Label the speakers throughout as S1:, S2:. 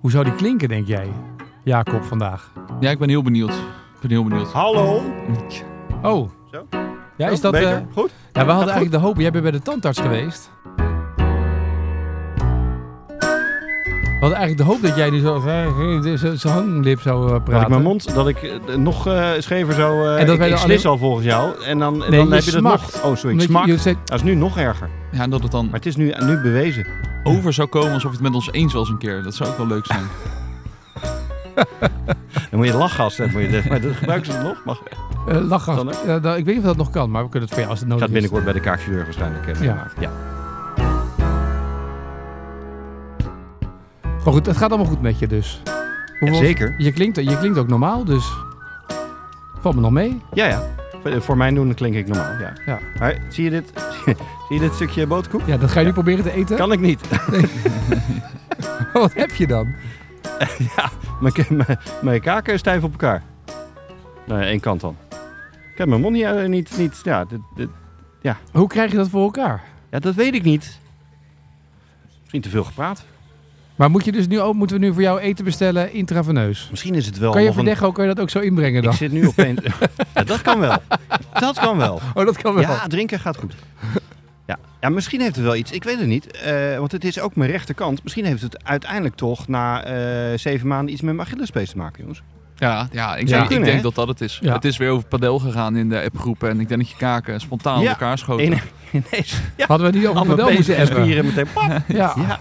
S1: Hoe zou die klinken, denk jij, Jacob, vandaag?
S2: Ja, ik ben heel benieuwd. Ik ben heel benieuwd.
S3: Hallo.
S1: Oh.
S3: Zo?
S1: Ja, is
S3: Zo,
S1: dat...
S3: beter?
S1: eh,
S3: Goed?
S1: ja, we hadden
S3: goed?
S1: eigenlijk de hoop... Jij bent bij de tandarts geweest. We hadden eigenlijk de hoop dat jij nu zo... eh, zo- Zo'n hanglip zou eh, praten.
S3: Dat ik mijn mond, dat ik eh, nog eh, schever zo... eh
S1: En dat
S3: ik,
S1: wij
S3: ik
S1: dan
S3: slis al volgens jou. En dan, en
S1: Nee,
S3: dan
S1: je
S3: heb je dat
S1: smakt.
S3: nog... Oh, sorry, ik
S1: Omdat je-
S3: smak.
S1: je zei-
S3: Dat is nu nog erger.
S2: Ja, en dat het dan
S3: Maar het is nu, nu bewezen.
S2: over zou komen alsof je het met ons eens was een keer. Dat zou ook wel leuk zijn.
S3: Dan moet je lachen als dat moet je... dit- Maar dat gebruiken ze het nog? Mag. Ik
S1: Eh, lachgas.
S3: Dan,
S1: Eh, dan- ik weet niet of dat nog kan, maar we kunnen het voor jou als het
S3: ga
S1: nodig
S3: het binnenkort bij de kaakchirurg waarschijnlijk eh,
S1: Ja.
S3: maken. ja.
S1: is. Maar goed, het gaat allemaal goed met je dus. Hoe-
S3: Ja, zeker.
S1: Je klinkt, je klinkt ook normaal, dus valt me nog mee.
S3: Ja, ja. eh, Voor- Voor mijn doen klink ik normaal, ja.
S1: Ja.
S3: Maar zie je dit, zie je dit stukje boterkoek?
S1: Ja, dat ga je nu proberen te eten.
S3: Kan ik niet.
S1: Wat heb je dan?
S3: Mijn, k- mijn, mijn kaken stijf op elkaar. Nou, één kant dan. Ik heb mijn mond niet... eh, niet, niet ja, dit, dit-
S1: Hoe krijg je dat voor elkaar?
S3: ja, dat weet ik niet. Misschien te veel gepraat.
S1: Maar moet je dus nu ook, moeten we nu voor jou eten bestellen intraveneus?
S3: Misschien is het wel
S1: Kan je
S3: nog een...
S1: verdeggen ook, kan je dat ook zo inbrengen
S3: Ik
S1: dan?
S3: zit nu opeens... ja, dat kan wel. Dat kan wel.
S1: Oh, dat kan wel.
S3: Ja, drinken gaat goed. Ja. ja, misschien heeft het wel iets. Ik weet het niet. eh, want het is ook mijn rechterkant. Misschien heeft het uiteindelijk toch na eh, zeven maanden iets met mijn Achillespees te maken, jongens.
S2: Ja,
S1: Ja.
S2: ja, ik, Denk,
S3: Kunnen,
S2: ik denk
S3: hè?
S2: dat dat het is.
S1: Ja.
S2: Het is weer over padel gegaan in de appgroepen. En ik denk dat je kaken spontaan
S3: Ja.
S2: op elkaar schoten.
S3: Eén- Ineens. Ja.
S1: Hadden we niet over
S3: Allemaal
S1: model moeten
S3: bezig en
S1: hebben.
S3: spieren meteen. pap.
S1: Ja.
S3: Ja.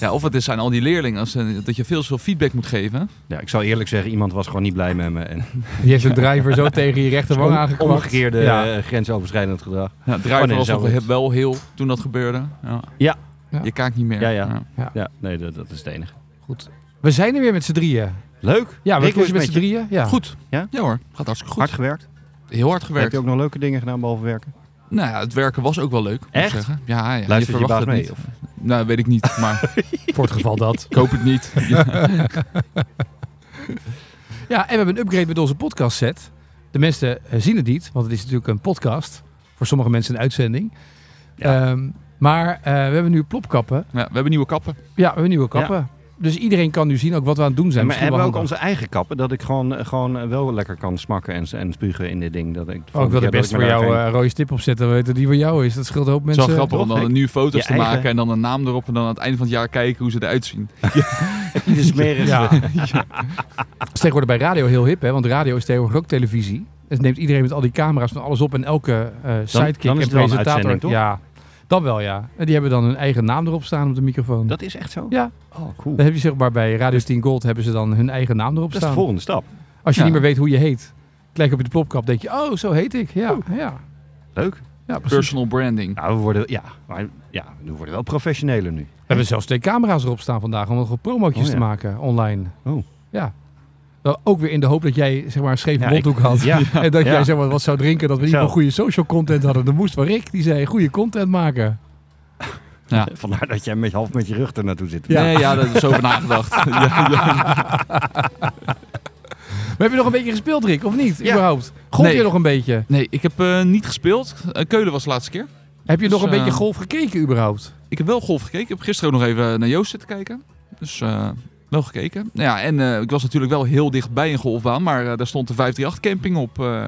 S2: Ja, of het is zijn al die leerlingen. Als, eh, dat je veel veel feedback moet geven.
S3: ja, ik zou eerlijk zeggen, iemand was gewoon niet blij met me. En
S1: Die heeft een driver zo tegen je rechterwang aangekwakt.
S3: omgekeerde
S1: Ja.
S3: eh, grensoverschrijdend gedrag.
S2: Ja, draait
S3: Oh, nee,
S2: was
S3: zo
S2: nog
S3: goed.
S2: wel heel toen dat gebeurde. Ja.
S3: Ja.
S1: Ja.
S2: Je kaakt niet meer.
S3: Ja, ja. Ja, nee, dat, dat is het enige.
S1: Goed. We zijn er weer met z'n drieën.
S3: Leuk.
S1: Ja, we
S3: Rick, hoe
S1: zijn
S3: is
S1: met
S3: het met
S1: z'n
S3: je?
S1: drieën. Ja.
S2: Goed.
S3: Ja?
S2: Ja? hoor, gaat hartstikke goed.
S3: Hard gewerkt.
S2: Heel hard gewerkt.
S3: Heb je ook nog leuke dingen gedaan behalve werken?
S2: Nou ja, het werken was ook wel leuk. moet ik
S3: Echt?
S2: Zeggen. Ja, ja.
S3: Luistert je
S2: verwacht
S3: baas
S2: het
S3: mee,
S2: Niet. Nou, weet ik niet, maar
S1: Voor het geval dat.
S2: ik hoop het niet. Ja.
S1: Ja, en we hebben een upgrade met onze podcast set. De mensen eh, zien het niet, want het is natuurlijk een podcast. Voor sommige mensen een uitzending. Ehm, maar eh, we hebben nu plopkappen.
S2: Ja, we hebben nieuwe kappen.
S1: Ja, we hebben nieuwe kappen. Dus iedereen kan nu zien ook wat we aan het doen zijn.
S3: maar
S1: Misschien
S3: hebben we
S1: wel
S3: ook
S1: handig.
S3: onze eigen kappen? Dat ik gewoon, eh, gewoon wel lekker kan smakken en, en spugen in dit ding. Dat ik,
S1: Oh, ik wil er best voor jou eh, een rode stip op zetten. We weten die van jou is. Dat scheelt een hoop
S2: Het
S1: mensen.
S2: is wel grappig om
S3: toch?
S2: dan nu foto's
S3: Je
S2: te maken
S3: eigen-
S2: en dan een naam erop. En dan aan het einde van het jaar kijken hoe ze eruit zien.
S3: de smerige.
S1: eh, Ja. Dat is tegenwoordig bij radio heel hip, hè? Want radio is tegenwoordig ook televisie. Dus neemt iedereen met al die camera's van alles op en elke eh sidekick
S3: dan is
S1: en
S3: het wel een
S1: presentator.
S3: uitzending, toch?
S1: Ja, dan wel ja. En die hebben dan hun eigen naam erop staan op de microfoon.
S3: Dat is echt zo?
S1: Ja.
S3: Oh, cool.
S1: Dan heb je zeg maar bij Radio 10 Gold hebben ze dan hun eigen naam erop
S3: Dat is de
S1: staan.
S3: volgende stap.
S1: Als je
S2: Ja.
S1: niet meer weet hoe je heet, klik op de plopkap, denk je, oh, zo heet ik. Ja, ja.
S3: Leuk.
S1: ja precies.
S2: Personal branding.
S3: Nou, we worden, ja, maar, ja, we worden wel professioneler nu.
S1: We hebben zelfs twee camera's erop staan vandaag om nog promotjes
S3: Oh, ja.
S1: te maken online.
S3: Oh.
S1: Ja. Nou, ook weer in de hoop dat jij zeg maar een scheve
S3: Ja,
S1: mondhoek had.
S3: Ja.
S1: En dat
S3: Ja.
S1: jij zeg maar wat zou drinken, dat we niet
S3: Zo.
S1: wel goede social content hadden. Dan moest van Rick, die zei, goede content maken.
S2: Ja.
S3: Vandaar dat jij met, half met je rug er naartoe zit.
S1: Ja.
S2: Nee, ja, daar is over nagedacht. Ja, ja.
S1: Maar heb je nog een beetje gespeeld, Rick, of niet?
S3: Ja.
S1: Überhaupt? Golf
S2: Nee.
S1: je nog een beetje?
S2: Nee, ik heb eh, niet gespeeld. Eh, Keulen was de laatste keer.
S1: Heb je
S2: Dus,
S1: nog een beetje
S2: eh,
S1: golf gekeken überhaupt?
S2: Ik heb wel golf gekeken. Ik heb gisteren ook nog even eh, naar Joost zitten kijken. Dus eh, wel gekeken. Nou Ja, en eh, ik was natuurlijk wel heel dichtbij een golfbaan. Maar eh, daar stond de 538-camping op eh,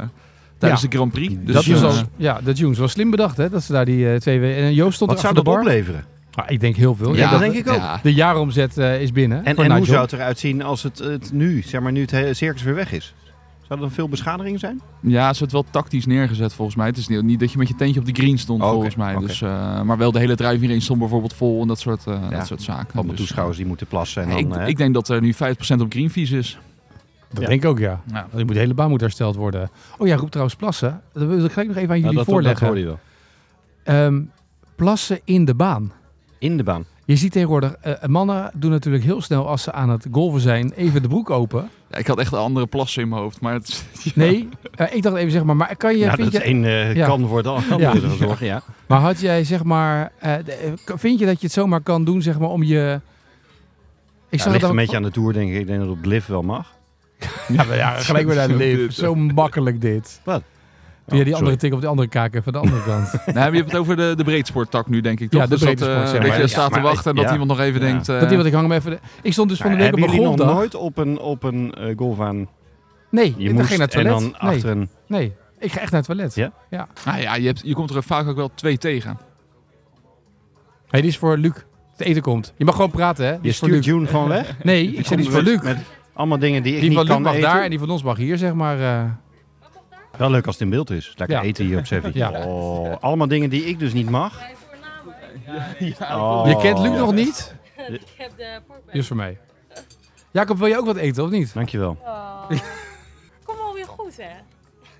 S2: tijdens
S1: Ja.
S2: de Grand Prix. Dus,
S1: dat is
S2: eh,
S1: al, ja, de Junes was slim bedacht, hè? Dat ze daar die eh, twee... we- En Joost stond
S3: Wat
S1: er achter
S3: zou dat
S1: de bar.
S3: opleveren?
S1: Ah, ik denk heel veel. Ik
S3: Ja,
S1: denk
S3: dat denk ik ook.
S2: Ja.
S1: dat de jaaromzet eh, is binnen.
S3: En,
S1: voor
S3: en hoe
S1: Nigel.
S3: zou het eruit zien als het, het nu, zeg maar, nu het hele circus weer weg is? Zou dat dan veel beschadiging zijn?
S2: Ja, ze had wel tactisch neergezet volgens mij. Het is niet, niet dat je met je tentje op de green stond
S3: Oké,
S2: volgens mij.
S3: oké.
S2: Dus, eh, maar wel de hele drijf hierin stond bijvoorbeeld vol en dat soort, eh,
S3: Ja,
S2: dat soort zaken.
S3: Allemaal
S2: Dus,
S3: toeschouwers die moeten plassen. En
S2: eh,
S3: dan,
S2: ik,
S3: eh,
S2: ik denk dat er nu 50% op green fees is.
S1: Dat
S3: Ja.
S1: denk ik ook, ja.
S2: Ja.
S1: Want die moet, de hele baan moet hersteld worden. Oh ja, roep trouwens plassen. Dat wil ik gelijk nog even aan
S3: nou,
S1: jullie
S3: dat, dat
S1: voorleggen.
S3: hoorde je wel.
S1: Ehm, plassen in de baan.
S3: In de baan.
S1: Je ziet tegenwoordig, eh, mannen doen natuurlijk heel snel als ze aan het golven zijn, even de broek open.
S2: Ja, ik had echt een andere plassen in mijn hoofd. Maar het, is- ja.
S1: Nee, eh, ik dacht even zeg maar, maar kan je,
S3: Ja,
S1: vind
S3: dat e-
S1: je
S3: één eh,
S1: Ja.
S3: kan voor de andere
S1: Ja.
S3: ja. zorgen, ja.
S1: maar had jij zeg maar, eh, de- eh, k- vind je dat je het zomaar kan doen zeg maar om je... Ik
S3: ja,
S1: het
S3: ligt een
S1: ook-
S3: beetje aan de tour, denk ik. Ik denk dat het op de lift wel mag.
S1: Ja, maar ja, gelijk weer naar de
S2: Zo
S1: lift.
S2: dit.
S1: Zo makkelijk dit.
S3: Wat? Oh,
S1: Doe jij die andere
S3: sorry.
S1: tik op de andere kaken van de andere kant.
S2: Nee, maar Nou, je hebt het over de, de breedsporttak nu, denk ik, toch?
S1: Ja, de
S2: dus dat, eh,
S1: breedsport, ja.
S2: dat
S3: Maar-
S2: je staat
S3: ja,
S2: te
S3: maar-
S2: wachten en dat
S3: ja.
S2: iemand nog even
S3: Ja.
S2: denkt... eh,
S1: dat iemand, ik hang hem even... de- Ik stond dus van de week op
S3: hebben
S1: een
S3: jullie nog
S1: golfdag.
S3: nooit op een, op een eh, golfbaan?
S1: Nee,
S3: Je
S1: ik
S3: moest
S1: ging naar het
S3: en
S1: toilet.
S3: dan
S1: nee,
S3: achter een...
S1: nee, ik ga echt naar het toilet.
S3: Ja?
S2: nou ja, je, hebt, je komt er vaak ook wel twee tegen.
S1: Hey, die is voor Luc. Het eten komt. Je mag gewoon praten, hè? Die
S3: Je
S1: is voor
S3: stuurt
S1: Luc.
S3: June gewoon weg?
S1: Nee, ik zeg die is voor
S3: Met-
S1: Luc.
S3: Met allemaal dingen die ik
S1: Die
S3: niet
S1: van Luc
S3: kan
S1: mag
S3: eten.
S1: daar en die van ons mag hier, zeg maar. eh,
S3: Wel leuk als het in beeld is. Lekker
S1: Ja.
S3: eten hier op Sevier.
S1: Ja.
S3: Oh, allemaal dingen die ik dus niet mag.
S1: Je kent Luc
S3: Oh, Ja.
S1: nog niet?
S4: Ik heb de
S1: Die is
S4: porkbek.
S1: voor mij. Jacob, wil je ook wat eten, of niet?
S3: Dankjewel.
S4: Oh. Kom alweer goed, hè?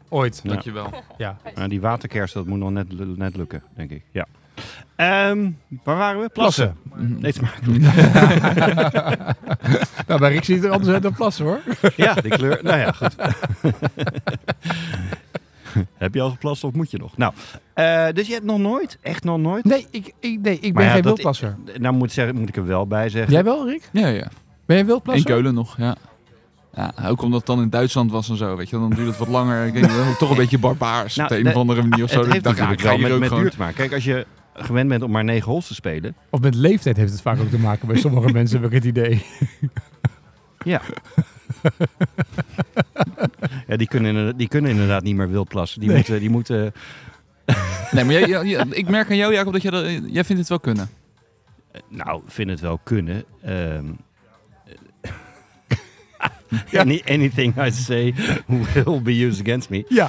S1: Ooit.
S3: Ja.
S2: Dankjewel.
S1: Ja.
S3: Nou, die waterkers, dat moet nog net, lu- net lukken, denk ik. Ja. Ehm, waar waren we? Plassen. Nee, het smaakt.
S1: Nou, bij Rick ziet het er anders uit dan plassen, hoor.
S3: Ja, de kleur. Nou ja, goed. Heb je al geplast of moet je nog? Nou, eh, dus je hebt nog nooit? Echt nog nooit?
S1: Nee, ik, ik, nee, ik
S3: Maar
S1: ben
S3: ja,
S1: geen
S3: dat-
S1: wildplasser.
S3: Nou moet, zeggen, moet ik er wel bij zeggen.
S1: Jij wel, Rick?
S2: Ja, ja.
S1: Ben je een
S2: In
S1: wildplasser?
S2: Keulen nog, ja. ja. Ook omdat het dan in Duitsland was en zo, weet je. Dan duurt het wat langer. Ik denk, dat is toch een beetje barbaars
S3: Nou,
S2: op de een
S3: de-
S2: of andere manier of zo.
S3: Het
S2: Ik
S3: heeft
S2: dacht, ja,
S3: natuurlijk
S2: ik ga hier
S3: wel met,
S2: ook
S3: met
S2: gewoon-
S3: duur te maken. Kijk, als je gewend bent om maar negen holes te spelen.
S1: Of met leeftijd heeft het vaak ook te maken bij sommige mensen, heb ik het idee.
S3: Ja. ja die, kunnen, inderdaad- die kunnen inderdaad niet meer wild plassen. Die moeten... Die moeten
S2: Nee, maar jij, jij- jij- ik merk aan jou, Jacob, dat jij, dat, jij vindt het wel kunnen.
S3: Nou, vind het wel kunnen. Ehm Any- anything I say will be used against me.
S1: Ja.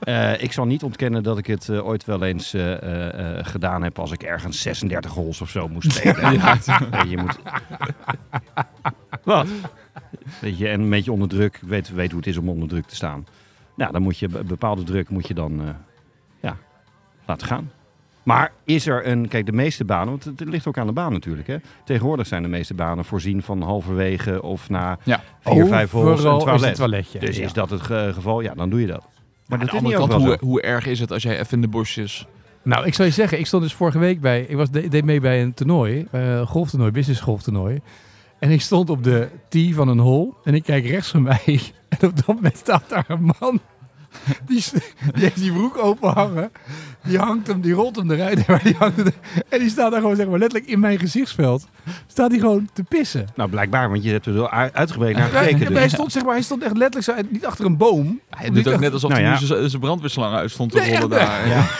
S3: Eh, ik zal niet ontkennen dat ik het eh, ooit wel eens eh, eh, eh, gedaan heb als ik ergens 36 holes of zo moest spelen. Nee, je moet... Wat? Weet je, en een beetje onder druk. Ik Weet, weet hoe het is om onder druk te staan. Nou, dan moet je be- bepaalde druk moet je dan eh, ja, laten gaan. Maar is er een, kijk, de meeste banen, want het ligt ook aan de baan natuurlijk. Hè? Tegenwoordig zijn de meeste banen voorzien van halverwege of na
S2: Ja.
S3: vier, vijf holes een
S1: Overal is
S3: toilet.
S1: het toiletje.
S3: Dus
S1: Ja.
S3: is dat het ge- geval? Ja, dan doe je dat. Maar
S2: Aan
S3: dat
S2: de
S3: is niet
S2: andere kant,
S3: overal
S2: hoe,
S3: zo.
S2: hoe erg is het als jij even in de bosjes...
S1: Nou, ik zou je zeggen, ik stond dus vorige week bij, ik was, de- deed mee bij een toernooi, eh golftoernooi, business golftoernooi. En ik stond op de tee van een hole en ik kijk rechts van mij en op dat moment staat daar een man. Die, s- die heeft die broek open hangen, die hangt hem, die rolt hem eruit maar die hangt er- en die staat daar gewoon zeg maar letterlijk in mijn gezichtsveld, staat hij gewoon te pissen.
S3: Nou, blijkbaar, want je hebt er wel u- uitgebreid naar
S1: Hij,
S3: gekeken.
S1: hij
S3: dus.
S1: stond zeg maar, hij stond echt letterlijk zo, niet achter een boom.
S2: Hij doet ook net alsof
S3: Nou
S2: hij
S3: ja.
S2: nu zijn- zijn brandweerslang uit stond te
S1: Nee, echt
S2: rollen
S1: waar.
S2: daar.
S3: Ja,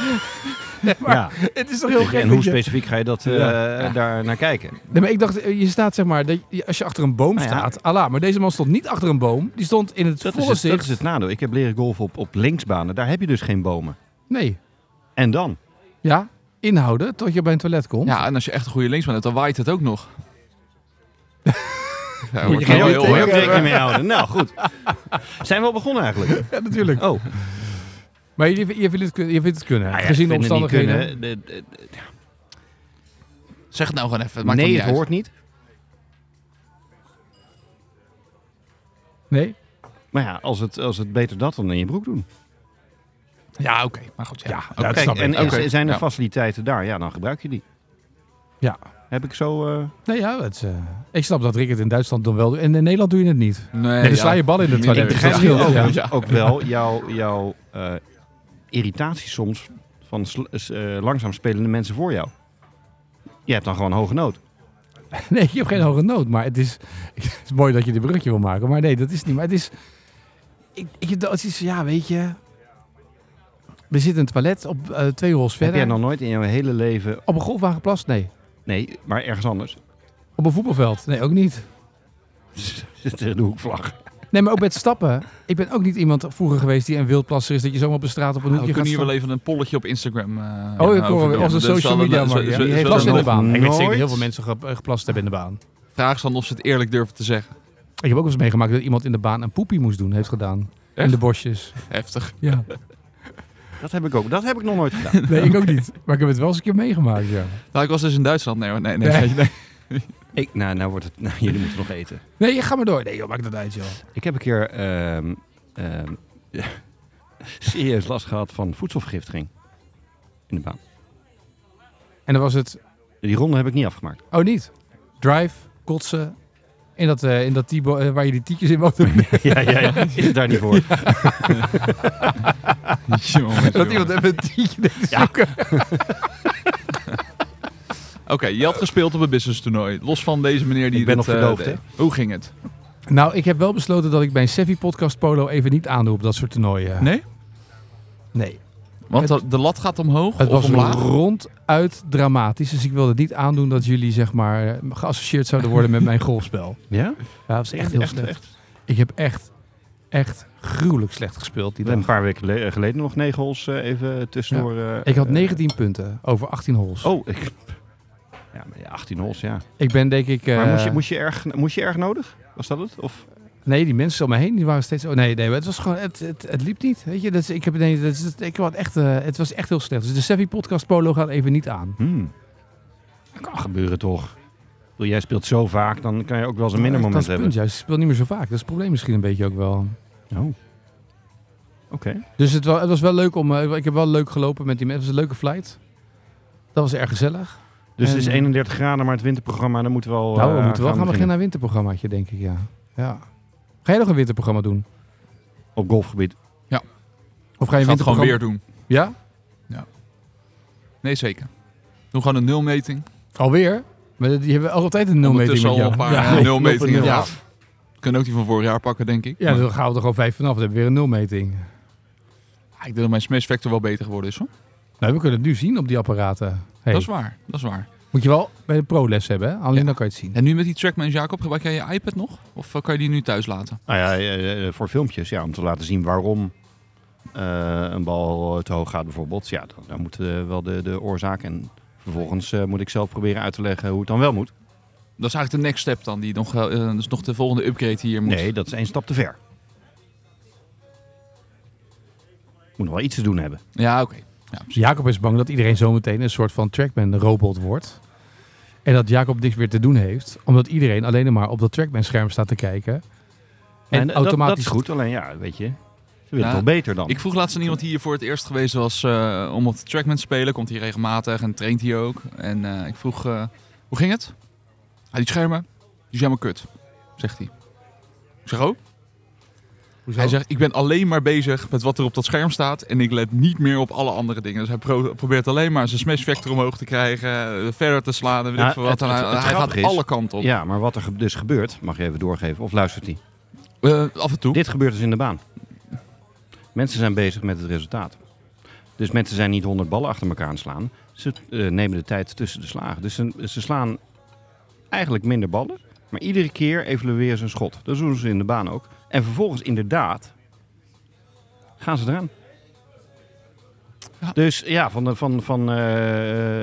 S1: Nee, maar
S3: ja.
S1: het is toch heel gek.
S3: En
S1: dat
S3: hoe
S1: je-
S3: specifiek ga je dat, eh, daar naar kijken?
S1: Nee, maar ik dacht, eh, je staat zeg maar, dat je- als je achter een boom
S3: Nou ja.
S1: staat, ala. Maar deze man stond niet achter een boom. Die stond in het
S3: Dat is
S1: volle
S3: het, dat
S1: zicht.
S3: is het nadeel. Ik heb leren golven op, op linksbanen. Daar heb je dus geen bomen.
S1: Nee.
S3: En dan?
S1: Ja, inhouden tot je bij een toilet komt.
S2: Ja, en als je echt een goede linksman hebt, dan waait het ook nog. Ja, wordt
S1: geen
S2: wel
S1: goede
S2: heel
S1: teken.
S2: erg.
S1: hoor.
S3: rekening mee houden. Nou, goed. Zijn we al begonnen eigenlijk?
S1: Ja, natuurlijk.
S3: Oh.
S1: Maar je, je, vindt, het, kun- je vindt het kunnen,
S3: Nou ja,
S1: gezien de
S3: vinden die
S1: omstandigheden.
S3: kunnen, de- de- de-
S2: Zeg het nou gewoon even. maakt toch
S3: Nee,
S2: niet
S3: het
S2: uit.
S3: hoort niet.
S1: Nee?
S3: Maar ja, als het, als het beter dat dan in je broek doen.
S2: Ja, oké. Maar goed, ja. Oké.
S1: dat
S3: Kijk,
S1: snap
S3: en
S1: ik.
S3: is-
S2: Oké,
S3: zijn er
S2: ja.
S3: faciliteiten daar? Ja, dan gebruik je die.
S1: Ja.
S3: Heb ik zo... eh,
S1: Nee, ja, het, is, eh, ik snap dat Rick het in Duitsland dan wel doet. En in Nederland doe je het niet.
S2: Nee,
S1: Nee, dan
S2: ja.
S1: sla Oh, je bal in het
S2: Ik
S1: toilet.
S3: Ik
S2: dat
S1: Dat
S3: begrijp nu
S1: scheelt,
S3: ook,
S1: ja.
S2: ja.
S3: ook wel jouw, jouw eh, irritatie soms van sl- s- eh, langzaam spelende mensen voor jou. Je hebt dan gewoon hoge nood.
S1: Nee, je hebt geen hoge nood. Maar het is, het is mooi dat je dit brugje wil maken. Maar nee, dat is het niet. Maar het is... Ik, ik, het is ja, weet je... Er zit een toilet op eh, twee hols verder.
S3: Heb jij nog nooit in jouw hele leven...
S1: Op een golfbaan geplast? Nee.
S3: Nee, maar ergens anders.
S1: Op een voetbalveld? Nee, ook niet.
S3: Tegen de hoekvlag.
S1: Nee, maar ook met stappen. Ik ben ook niet iemand vroeger geweest die een wildplasser is. Dat je zomaar op een straat op een
S2: Nou, we
S1: hoekje gaat
S2: kunnen hier wel
S1: stappen.
S2: even een polletje op Instagram. eh,
S1: Oh, ik
S2: over
S1: hoor
S2: doen.
S1: onze
S2: Dus
S1: social
S2: zal het-
S1: media
S2: zo-
S1: man.
S2: zo-
S1: Ja.
S2: zo- zo-
S3: heeft dat
S1: Plas in de
S3: nog
S1: baan. Ik weet zeker
S3: nooit?
S1: heel veel mensen ge- eh, geplast hebben in de baan.
S2: Vraag is dan of ze het eerlijk durven te zeggen.
S1: Ik heb ook wel eens meegemaakt dat iemand in de baan een poepie moest doen, heeft gedaan. In
S2: Echt?
S1: de bosjes.
S2: Heftig.
S1: Ja.
S3: Dat heb ik ook. Dat heb ik nog nooit gedaan.
S1: Nee, ik ook niet. Maar ik heb het wel eens een keer meegemaakt, ja.
S2: Nou, ik was dus in Duitsland. Nee, hoor. nee, nee.
S1: Nee.
S2: nee. nee.
S3: Ik, nou, nou wordt het... Nou, jullie moeten nog eten.
S1: Nee, ga maar door. Nee, joh, maakt dat uit, joh.
S3: Ik heb een keer ehm, ehm, serieus last gehad van voedselvergiftiging. In de baan.
S1: En dan was het...
S3: Die ronde heb ik niet afgemaakt.
S1: Oh, niet. Drive, kotsen, In dat, eh, in dat die bo- eh, waar je die tiekjes in mogen doen.
S3: ja, ja, ja. Is het daar niet voor?
S2: Jongens,
S1: dat
S2: jongens.
S1: iemand even een tietje deed zoeken.
S2: Oké, je had gespeeld op een business toernooi. Los van deze meneer die
S3: Ik ben
S2: dit,
S3: nog
S2: eh,
S3: verdoofd,
S2: deed. Hoe ging het?
S1: Nou, ik heb wel besloten dat ik bij een Sevi podcast polo even niet aandoe op dat soort toernooien.
S2: Nee?
S1: Nee.
S2: Want de- de lat gaat omhoog
S1: Het
S2: of
S1: was
S2: omlaag?
S1: ronduit dramatisch. Dus ik wilde het niet aandoen dat jullie zeg maar eh, geassocieerd zouden worden met mijn golfspel.
S3: Ja?
S1: Ja, dat was echt heel slecht. Ik heb echt, echt gruwelijk slecht gespeeld die dag.
S3: Een paar weken le- eh, geleden nog negen holes eh, even tussendoor. eh,
S1: Ik had
S3: eh,
S1: 19 punten over 18 holes.
S3: Oh, ik... Ja, maar ja, 18 holes, ja.
S1: Ik ben denk ik... eh,
S3: maar moest je, moest, je erg, moest je erg nodig? Was dat het? Of
S1: Nee, die mensen om me heen die waren steeds... Oh, nee, nee, maar het was gewoon... Het, het, het liep niet, weet je. Dat is, ik heb ineens... Dat is, dat- ik had echt, eh, het was echt heel slecht. Dus de Sevi podcast polo gaat even niet aan.
S3: Hmm. Dat kan gebeuren toch? Ik bedoel, jij speelt zo vaak, dan kan je ook wel eens een minder
S1: Dat is
S3: moment
S1: het
S3: hebben.
S1: punt, juist. Ik speel niet meer zo vaak. Dat is het probleem misschien een beetje ook wel.
S3: Oh. Oké.
S1: Dus het, wa- het was wel leuk om... eh, ik heb wel leuk gelopen met die mensen. Het was een leuke flight. Dat was erg gezellig.
S3: Dus het is
S1: En-
S3: 31 graden, maar het winterprogramma, dan moeten we al.
S1: nou, we
S3: eh,
S1: moeten wel gaan beginnen aan
S3: beginnen.
S1: een winterprogrammaatje, denk ik, ja. ja. Ga jij nog een winterprogramma doen?
S3: Op golfgebied.
S1: Of ga je
S2: Je
S1: een
S2: gaat het gewoon
S1: winterprogramma...
S2: weer doen.
S1: Ja?
S2: Nee, zeker. Doe gewoon een nulmeting.
S1: Alweer? Maar die hebben altijd een nulmeting
S2: Ondertussen
S1: met
S2: al
S1: jou.
S2: een paar
S1: ja.
S2: eh, nulmetingen
S1: Ja.
S2: gehad. Kunnen ook die van vorig jaar pakken, denk ik.
S1: ja,
S2: Maar-
S1: dan gaan we er gewoon vijf vanaf. Dan hebben we weer een nulmeting.
S2: Ah, ik denk dat mijn smash factor wel beter geworden is, hoor.
S1: Nou, we kunnen het nu zien op die apparaten. Hey,
S2: Dat is waar, dat is waar.
S1: Moet je wel bij de pro-les hebben, hè? Alleen
S2: Ja.
S1: dan kan je het zien.
S2: En nu met die Trackman Jacob, gebruik jij je iPad nog? Of eh, kan je die nu thuis laten?
S3: Nou ja, eh, eh, voor filmpjes, ja, om te laten zien waarom eh, een bal te hoog gaat, bijvoorbeeld. Ja, dan, dan moeten we wel de, de oorzaak. En vervolgens eh, moet ik zelf proberen uit te leggen hoe het dan wel moet.
S2: Dat is eigenlijk de next step dan, die nog, eh, eh, dus nog de volgende upgrade die hier moet.
S3: Nee, dat is één stap te ver. Moet nog wel iets te doen hebben.
S2: Ja, oké. Ja, precies.
S1: Dus Jacob is bang dat iedereen zometeen een soort van trackman-robot wordt. En dat Jacob niks meer te doen heeft. Omdat iedereen alleen maar op dat trackman-scherm staat te kijken. En
S3: En, eh, dat-
S1: automatisch...
S3: Dat, is goed, alleen ja, weet je. Ze willen
S2: Ja,
S3: het wel beter dan.
S2: Ik vroeg laatst aan iemand die hier voor het eerst geweest was eh, om op de Trackman te spelen. Komt hier regelmatig en traint hier ook. En eh, ik vroeg, eh, hoe ging het? Ah, die schermen, die zijn maar kut, zegt hij. Ik zeg, oh?
S1: Hoezo?
S2: Hij zegt, ik ben alleen maar bezig met wat er op dat scherm staat. En ik let niet meer op alle andere dingen. Dus hij pro- probeert alleen maar zijn smash factor omhoog te krijgen. eh, Verder te slaan en weet
S3: Ja,
S2: ik veel wat.
S3: Nou, het-
S2: En hij-
S3: het- het
S2: hij gaat
S3: grappige is-
S2: alle kanten op.
S3: Ja, maar wat er ge- dus gebeurt, mag je even doorgeven, of luistert hij?
S2: Eh, af en toe.
S3: Dit gebeurt dus in de baan. Mensen zijn bezig met het resultaat. Dus mensen zijn niet 100 ballen achter elkaar aan het slaan. Ze eh, nemen de tijd tussen de slagen. Dus ze, ze slaan eigenlijk minder ballen. Maar iedere keer evalueren ze een schot. Dat doen ze in de baan ook. En vervolgens inderdaad gaan ze eraan.
S2: Ja.
S3: Dus ja, van, de- van, van eh,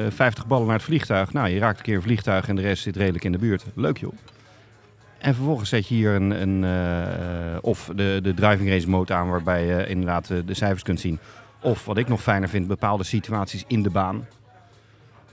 S3: 50 ballen naar het vliegtuig. Nou, je raakt een keer een vliegtuig en de rest zit redelijk in de buurt. Leuk joh. En vervolgens zet je hier een, een eh, of de, de driving range mode aan waarbij je inderdaad eh, de cijfers kunt zien. Of wat ik nog fijner vind, bepaalde situaties in de baan.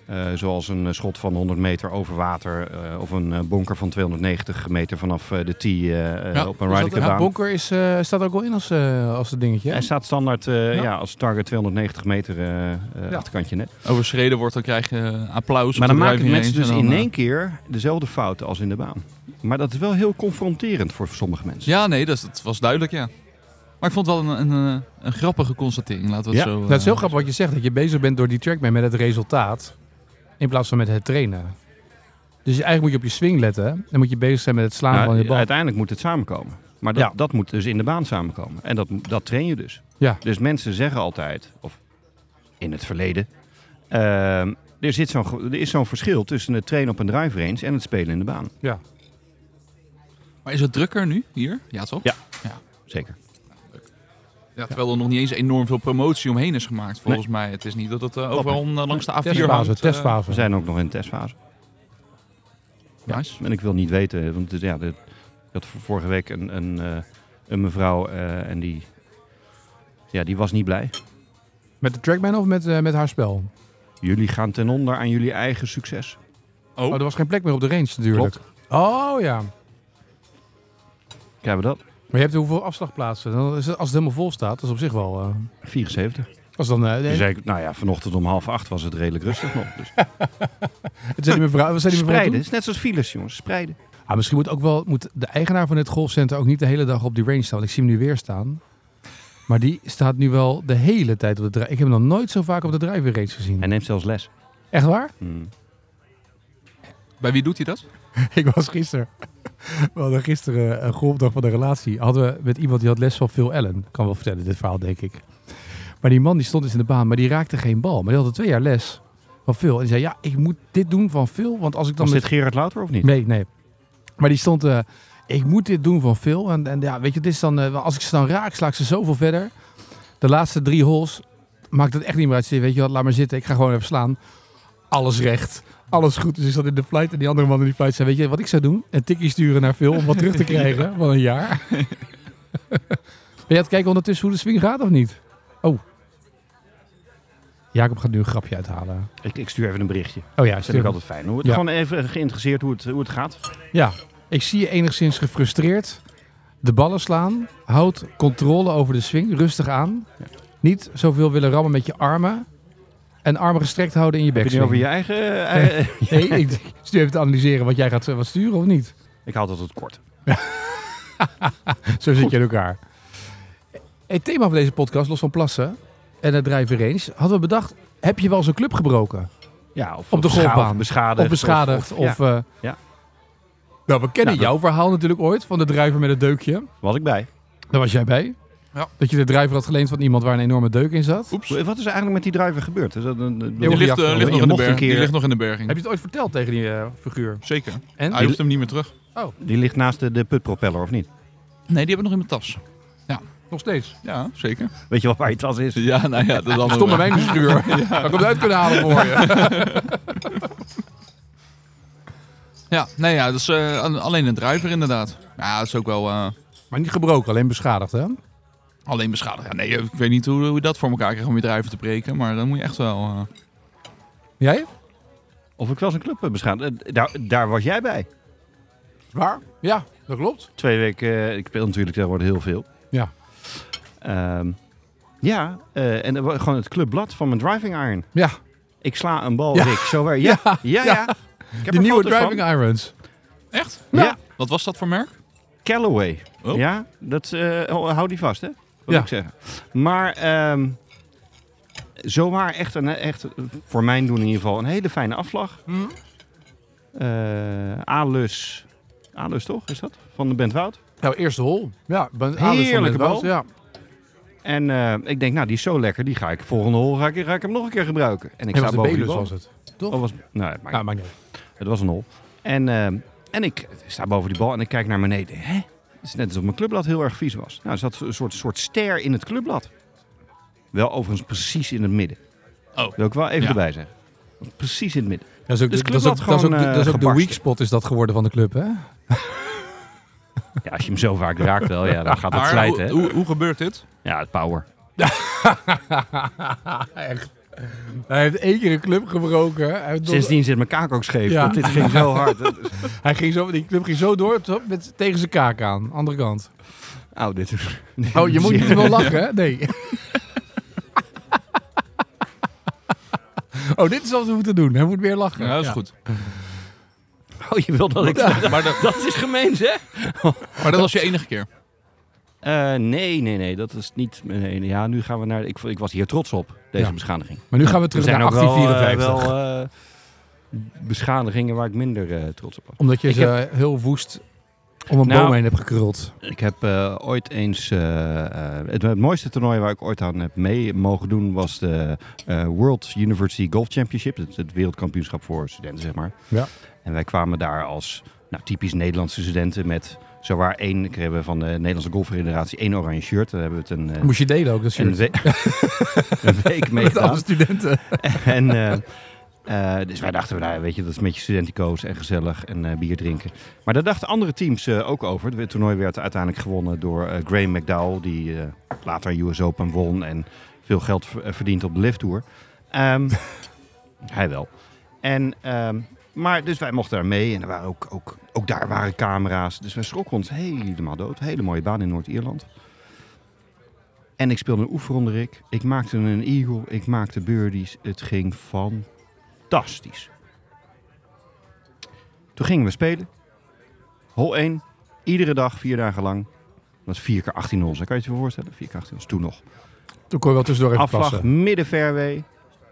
S3: Eh, zoals een eh, schot van 100 meter over water eh, of een eh, bonker van 290 meter vanaf eh, de tee eh, eh, op een
S1: Dus
S3: Ryder
S1: dat-
S3: Cup
S1: ja,
S3: baan.
S1: Bonker is, eh, staat ook wel in als, eh, als het dingetje. hè?
S3: Hij staat standaard eh,
S1: Ja.
S3: ja. als target 290 meter eh, eh,
S1: Ja.
S3: achterkantje net.
S1: Dus
S2: Overschreden wordt, dan krijg je eh, applaus. op
S3: Maar dan
S2: de
S3: maken
S2: driving
S3: mensen
S2: range
S3: dus
S2: en
S3: in
S2: dan, eh,
S3: één keer dezelfde fouten als in de baan. Maar dat is wel heel confronterend voor sommige mensen.
S2: Ja, nee, dat, is- dat was duidelijk, ja. Maar ik vond het wel een, een, eh, een grappige constatering. Laten we het
S3: Ja,
S2: zo...
S1: Nou, het is heel
S2: eh,
S1: grappig wat je zegt, dat je bezig bent door die trackman met het resultaat in plaats van met het trainen. Dus je- eigenlijk moet je op je swing letten. Dan moet je bezig zijn met het slaan van je
S3: Nou,
S1: bal.
S3: uiteindelijk moet het samenkomen. Maar dat,
S1: Ja.
S3: dat moet dus in de baan samenkomen. En dat, dat train je dus.
S1: Ja.
S3: Dus mensen zeggen altijd, of in het verleden, ehm, er, zit zo'n, ge- er is zo'n verschil tussen het trainen op een drive range en het spelen in de baan.
S2: Maar is het drukker nu, hier? Ja, toch?
S3: Ja. Zeker.
S2: Ja, terwijl er nog niet eens enorm veel promotie omheen is gemaakt, volgens mij. Het is niet dat het eh, overal eh, langs de A4
S1: Testfase,
S2: hangt. eh,
S1: testfase.
S3: We zijn ook nog in de testfase.
S2: nice.
S3: En ik wil niet weten, want het- ja, de, ik had v- vorige week een, een, eh, een mevrouw eh, en die, ja, die was niet blij.
S1: Met de trackman of met, eh, met haar spel? Oh.
S3: Jullie gaan ten onder aan jullie eigen succes.
S1: Oh, er was geen plek meer op de range natuurlijk. Oh ja.
S3: Krijgen we dat?
S1: Maar je hebt hoeveel afslagplaatsen? Dan is het- als het helemaal vol staat, dat is op zich wel... eh,
S3: 74.
S1: als dan, eh, nee,
S3: Dus eigenlijk, nou ja, vanochtend om half acht was het redelijk rustig nog. Dus
S1: het zijn die mevrouw, wat zei die mevrouw
S3: spreiden,
S1: toen?
S3: het is net zoals files, jongens. Spreiden.
S1: Ah, misschien moet, ook wel, moet de eigenaar van dit golfcenter ook niet de hele dag op die range staan. Want ik zie hem nu weer staan. Maar die staat nu wel de hele tijd op de drijf. Ik heb hem nog nooit zo vaak op de driving range gezien.
S3: Hij neemt zelfs les.
S1: Echt waar?
S3: Hmm.
S2: Bij wie doet hij dat?
S1: Ik was gisteren. We hadden gisteren een golfdag van de relatie. Hadden we met iemand die had les van Phil Allen. Kan wel vertellen, dit verhaal denk ik. Maar die man die stond dus in de baan, maar die raakte geen bal. Maar die had al twee jaar les van Phil. En die zei, ja, ik moet dit doen van Phil. Want als ik dan
S3: Was
S1: met
S3: dit Gerard Louter of niet?
S1: Nee, nee. Maar die stond, eh, ik moet dit doen van Phil. En, en ja, weet je, dit is dan, eh, als ik ze dan raak, sla ik ze zoveel verder. De laatste drie holes maakt het echt niet meer uit. Ik zei, Weet je wat, laat maar zitten, ik ga gewoon even slaan. Alles recht, alles goed. Dus ik zat in de flight en die andere man in die flight zei, weet je wat ik zou doen? Een tikkie sturen naar Phil om wat terug te krijgen van een jaar. ben je aan het kijken ondertussen hoe de swing gaat of niet? Oh. Jacob gaat nu een grapje uithalen.
S3: Ik, ik stuur even een berichtje.
S1: Oh ja,
S3: Dat vind ik
S1: stuur-
S3: altijd fijn. Hoe het,
S1: Ja.
S3: Gewoon even geïnteresseerd hoe het, hoe het gaat.
S1: Ja, ik zie je enigszins gefrustreerd. De ballen slaan. Houd controle over de swing. Rustig aan. Niet zoveel willen rammen met je armen. En armen gestrekt houden in je
S3: Heb je
S1: bek.
S3: het nu over je eigen... eh, eh,
S1: Nee, ik stuur even te analyseren wat jij gaat wat sturen of niet.
S3: ik haal dat tot kort.
S1: Zo zit je in elkaar. Het thema van deze podcast, los van plassen en het drijven range, hadden we bedacht, heb je wel zo'n club gebroken?
S3: Ja, of,
S1: Op de
S3: of scha-
S1: golfbaan.
S3: Of beschadigd.
S1: of beschadigd?
S3: of-
S1: Of,
S3: ja.
S1: eh,
S3: Ja.
S1: Nou, we kennen
S3: Ja,
S1: jouw verhaal natuurlijk ooit van de drijver met het deukje.
S3: Was ik bij.
S1: Daar was jij bij.
S2: Ja.
S1: Dat je de drijver had geleend van iemand waar een enorme deuk in zat.
S2: Oeps.
S3: Wat is er eigenlijk met die driver gebeurd? Is dat
S1: Je
S3: een,
S2: Die
S1: wordt
S2: ligt,
S1: niet
S2: eh,
S1: afgelopen.
S2: ligt nog
S3: Je
S2: in de
S3: mocht een
S2: berg. Die
S3: keer-
S2: ligt nog in de berging.
S1: Heb je het ooit verteld tegen die eh, figuur?
S2: Zeker.
S1: En?
S2: Hij hoeft hem niet meer terug.
S3: die ligt naast de, de putpropeller, of niet?
S2: Nee, die heb ik nog in mijn tas.
S1: Nog steeds.
S2: Ja, zeker.
S3: Weet je wat waar je tas is?
S2: Ja, nou ja, dat is allemaal.
S1: Stomme wijnfiguur. ja. Had ik hem uit kunnen halen voor je.
S2: Ja, nee, ja, dat is eh, al- alleen een drijver inderdaad. Ja, dat is ook wel eh,
S1: maar niet gebroken, alleen beschadigd hè?
S2: alleen beschadigd. Ja, nee, eh, ik weet niet hoe, hoe je dat voor elkaar krijgt om je drijver te breken, maar dan moet je echt wel... eh,
S1: Jij?
S3: Of ik wel eens een club eh, beschadigd. Eh, Daar, daar was jij bij.
S1: Waar? Ja, dat klopt.
S3: Twee weken. eh, ik speel natuurlijk tegenwoordig heel veel.
S1: Ja.
S3: Ehm, ja, eh, en er wa- gewoon het clubblad van mijn driving iron.
S1: Ja,
S3: Ik sla een bal,
S1: Ja.
S3: Rick. Zo waar. Ja, ja, ja. Ik heb
S1: de
S3: er
S1: nieuwe
S3: foto's van.
S1: Driving Irons.
S2: Echt?
S3: Ja.
S1: Ja.
S2: Wat was dat voor merk?
S3: Callaway.
S2: Oh.
S3: Ja, dat, eh, ho- hou die vast, hè? Wat
S1: Ja.
S3: ik zeggen. Maar ehm zomaar echt, een, echt, voor mijn doen in ieder geval, een hele fijne afslag.
S1: Hmm.
S3: Eh, Alus. Alus toch, is dat? Van de Bent Wout.
S1: Nou, eerste hol. Ja, ben
S3: Heerlijke bal.
S1: Ja.
S3: En eh, ik denk, nou, die is zo lekker. Die ga ik volgende hol ga ik, ga ik hem nog een keer gebruiken. En ik
S1: En was
S3: sta
S1: de
S3: boven
S1: Belus
S3: die bal.
S1: was het. Toch?
S3: Oh, was, nou, het maakt
S1: Ja, maakt niet uit.
S3: Het was een hol. En, ehm, en ik sta boven die bal en ik kijk naar beneden. Hè? Het is net alsof mijn clubblad heel erg vies was. Nou, er zat een soort, soort ster in het clubblad. Wel overigens precies in het midden.
S2: Oh.
S3: Wil ik wel even
S2: Ja.
S3: erbij zeggen. Precies in het midden.
S1: Dat is ook,
S3: Dus
S1: dat is ook,
S3: club had
S1: dat is ook,
S3: gewoon,
S1: de- dat is
S3: eh,
S1: ook de
S3: gebarsten.
S1: weak spot is dat geworden van de club, hè?
S3: Ja, als je hem zo vaak raakt wel, ja, dan gaat het
S2: Maar
S3: slijten.
S2: hoe,
S3: hè?
S2: hoe, hoe gebeurt dit?
S3: Ja, het power.
S1: Echt. Hij heeft één keer een club gebroken. Hij heeft nog-
S3: Sindsdien zit mijn kaak ook scheef.
S1: Ja.
S3: want Dit ging zo hard. Dat is-
S1: Hij ging zo, die club ging zo door t- met, tegen zijn kaak aan. Andere kant.
S3: Au, dit is...
S1: Oh, je moet niet wel lachen, hè? Nee. Oh, dit is wat we moeten doen. Hij moet weer lachen.
S2: Ja, dat is goed.
S3: Oh, je wil dat ik...
S2: Maar, dat-
S3: Dat is gemeen, zeg.
S2: maar dat was je enige keer.
S3: Eh, nee, nee, nee. Dat is niet... nee, ja, nu gaan we naar... Ik, ik was hier trots op, deze
S1: Ja.
S3: beschadiging.
S1: Maar nu gaan we terug
S3: er zijn
S1: naar
S3: ook wel, eh,
S1: 1854.
S3: wel, eh, beschadigingen waar ik minder eh, trots op was.
S1: Omdat je
S3: Ik
S1: ze heel woest om een
S3: Nou-
S1: boom heen hebt gekruld.
S3: Ik heb eh, ooit eens... eh, eh, het, het mooiste toernooi waar ik ooit aan heb mee mogen doen... was de eh, World University Golf Championship. Het, het wereldkampioenschap voor studenten, zeg maar.
S1: Ja.
S3: En wij kwamen daar als nou, typisch Nederlandse studenten met... Zowaar één, ik hebben van de Nederlandse Golffederatie één oranje shirt. Daar hebben we het een, eh,
S1: Moest je delen ook, dat
S3: een,
S1: shirt.
S3: we- een week mee
S1: Met alle
S3: gedaan.
S1: studenten.
S3: En, eh, eh, dus wij dachten, nou, weet je, dat is met je studentico's en gezellig en eh, bier drinken. Maar daar dachten andere teams eh, ook over. Het toernooi werd uiteindelijk gewonnen door eh, Graham McDowell, die eh, later US Open won en veel geld v- eh, verdient op de lift tour. Ehm, hij wel. En, ehm, maar dus wij mochten daar mee en er waren ook, ook, ook daar waren camera's. Dus wij schrokken ons helemaal dood. Hele mooie baan in Noord-Ierland. En ik speelde een oefenronde, Rick. Ik maakte een eagle, ik maakte birdies. Het ging fantastisch. Toen gingen we spelen. Hol 1, iedere dag, vier dagen lang. Dat is 4 keer 18 hols. hè? Kan je het je voorstellen? 4 keer 18 hols, toen nog.
S1: Toen kon je wel tussendoor even
S3: Afslag,
S1: passen.
S3: midden fairway.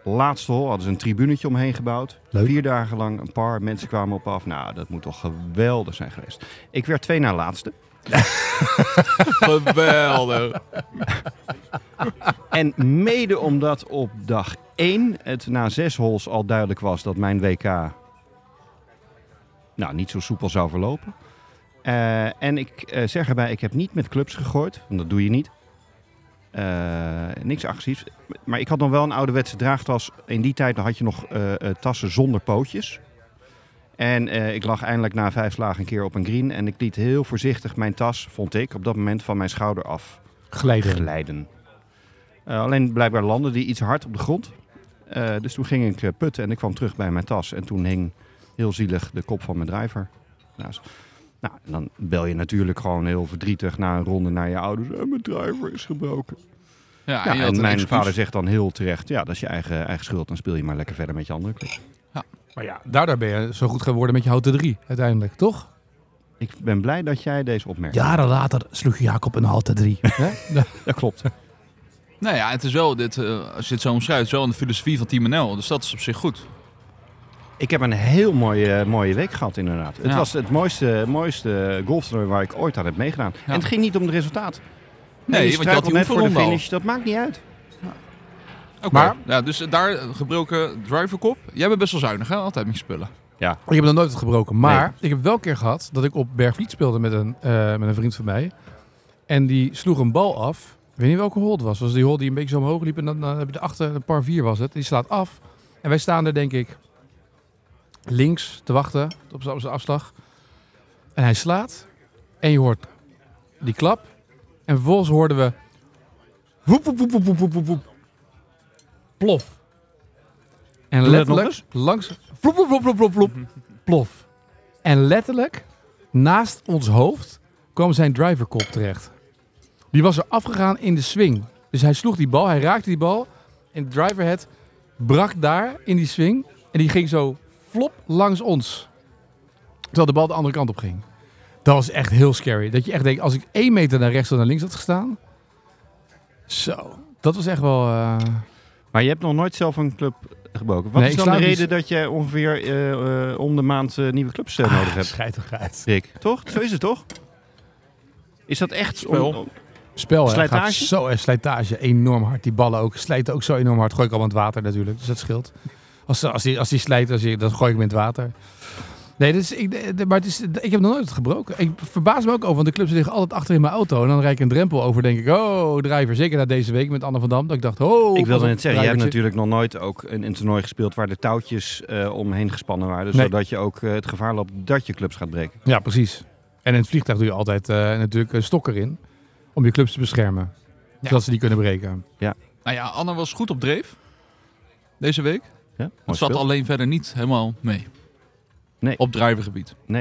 S3: Laatste hol hadden ze een tribunetje omheen gebouwd.
S1: Leuk.
S3: Vier dagen lang een paar mensen kwamen op af. Nou, dat moet toch geweldig zijn geweest. Ik werd twee na laatste.
S2: Geweldig.
S3: En mede omdat op dag 1 het na zes holes al duidelijk was dat mijn WK nou, niet zo soepel zou verlopen. Eh, en ik eh, zeg erbij, ik heb niet met clubs gegooid, want dat doe je niet. Eh, niks agressiefs. Maar ik had nog wel een ouderwetse draagtas. In die tijd had je nog eh, eh, tassen zonder pootjes. En eh, ik lag eindelijk na vijf slagen een keer op een green. En ik liet heel voorzichtig mijn tas, vond ik, op dat moment van mijn schouder af
S1: Glijden.
S3: glijden. Eh, alleen blijkbaar landde die iets hard op de grond. Eh, dus toen ging ik eh, putten en ik kwam terug bij mijn tas. En toen hing heel zielig de kop van mijn driver. naast. nou, en dan bel je natuurlijk gewoon heel verdrietig na een ronde naar je ouders. "Eh, mijn driver is gebroken.
S2: Ja,
S3: Ja,
S2: en je had
S3: en
S2: een
S3: mijn
S2: excuus.
S3: vader zegt dan heel terecht, ja, dat is je eigen, eigen schuld. Dan speel je maar lekker verder met je andere club.
S1: Maar ja, daardoor ben je zo goed geworden met je houten drie uiteindelijk, toch?
S3: Ik ben blij dat jij deze opmerkt.
S1: Jaren later sloeg Jacob een houten drie.
S3: dat klopt.
S2: Nou ja, het is wel, dit, eh, als je het zo omschrijft, het is wel in de filosofie van Team NL. Dus dat is op zich goed.
S3: Ik heb een heel mooie, mooie week gehad, inderdaad. Het
S2: Ja.
S3: was het mooiste, mooiste golftoernooi waar ik ooit aan heb meegedaan. En het ging niet om het resultaat.
S2: Nee,
S3: je
S2: want je had
S3: struikelt
S2: die
S3: net voor de
S2: oefenronde al.
S3: finish, dat maakt niet uit.
S2: Oké.
S1: Maar-
S2: ja, dus daar eh, gebroken driverkop. Jij bent best wel zuinig, hè? Altijd met je spullen.
S1: Ik heb nog nooit wat gebroken. Maar ik heb wel een keer gehad dat ik op Bergvliet speelde met een, eh, met een vriend van mij. En die sloeg een bal af. Ik weet niet welke hol het was. was die hol die een beetje zo omhoog liep. En dan, dan heb je de achter, een par vier was het. Die slaat af. En wij staan er denk ik links te wachten op zijn op zijn afslag. En hij slaat. En je hoort die klap. En vervolgens hoorden we... Woep, woep, woep, woep, woep, woep, woep, woep. Plof. En
S3: dat nog
S1: letterlijk langs... Vloep, vloep, vloep, vloep, vloep, vloep. Plof. En letterlijk naast ons hoofd kwam zijn driverkop terecht. Die was er afgegaan in de swing. Dus hij sloeg die bal, hij raakte die bal. En de driverhead brak daar in die swing. En die ging zo flop langs ons. Terwijl de bal de andere kant op ging. Dat was echt heel scary. Dat je echt denkt, als ik één meter naar rechts of naar links had gestaan. Zo. Dat was echt wel... eh,
S3: Maar je hebt nog nooit zelf een club gebroken. Wat
S1: Nee,
S3: is
S1: ik
S3: dan de
S1: sla dus-
S3: reden dat je ongeveer eh, eh, om de maand eh, nieuwe clubs
S1: Ah,
S3: eh,
S2: Ah,
S3: nodig hebt,
S1: scheidigheid.
S3: Rick? Toch? Zo is het toch? Is dat echt...
S2: Spel.
S1: Spel, hè.
S3: Slijtage?
S1: Gaat zo en slijtage enorm hard. Die ballen ook. Slijten ook zo enorm hard. Gooi ik allemaal in het water natuurlijk. Dus dat scheelt. Als, als, die, als die slijt, als die, dan gooi ik hem in het water. Nee, dus ik, de- de- maar het is, de- ik heb nog nooit het gebroken. Ik verbaas me ook over, want de clubs liggen altijd achter in mijn auto. En dan rijd ik een drempel over, denk ik. Oh, driver. Zeker na deze week met Anne van Dam. Dat ik dacht, oh.
S3: Ik wilde
S1: pas
S3: net
S1: op,
S3: zeggen, je hebt
S1: drivertje.
S3: natuurlijk nog nooit ook een, een toernooi gespeeld waar de touwtjes eh, omheen gespannen waren.
S1: Nee.
S3: Zodat je ook eh, het gevaar loopt dat je clubs gaat breken.
S1: Ja, precies. En in het vliegtuig doe je altijd eh, natuurlijk een stok erin. Om je clubs te beschermen. Zodat ze die kunnen breken.
S2: Nou ja, Anne was goed op dreef. Deze week.
S3: Ja? Mooi
S2: Het zat
S3: gespeeld.
S2: alleen verder niet helemaal mee.
S3: Nee.
S2: Op drivergebied.
S1: En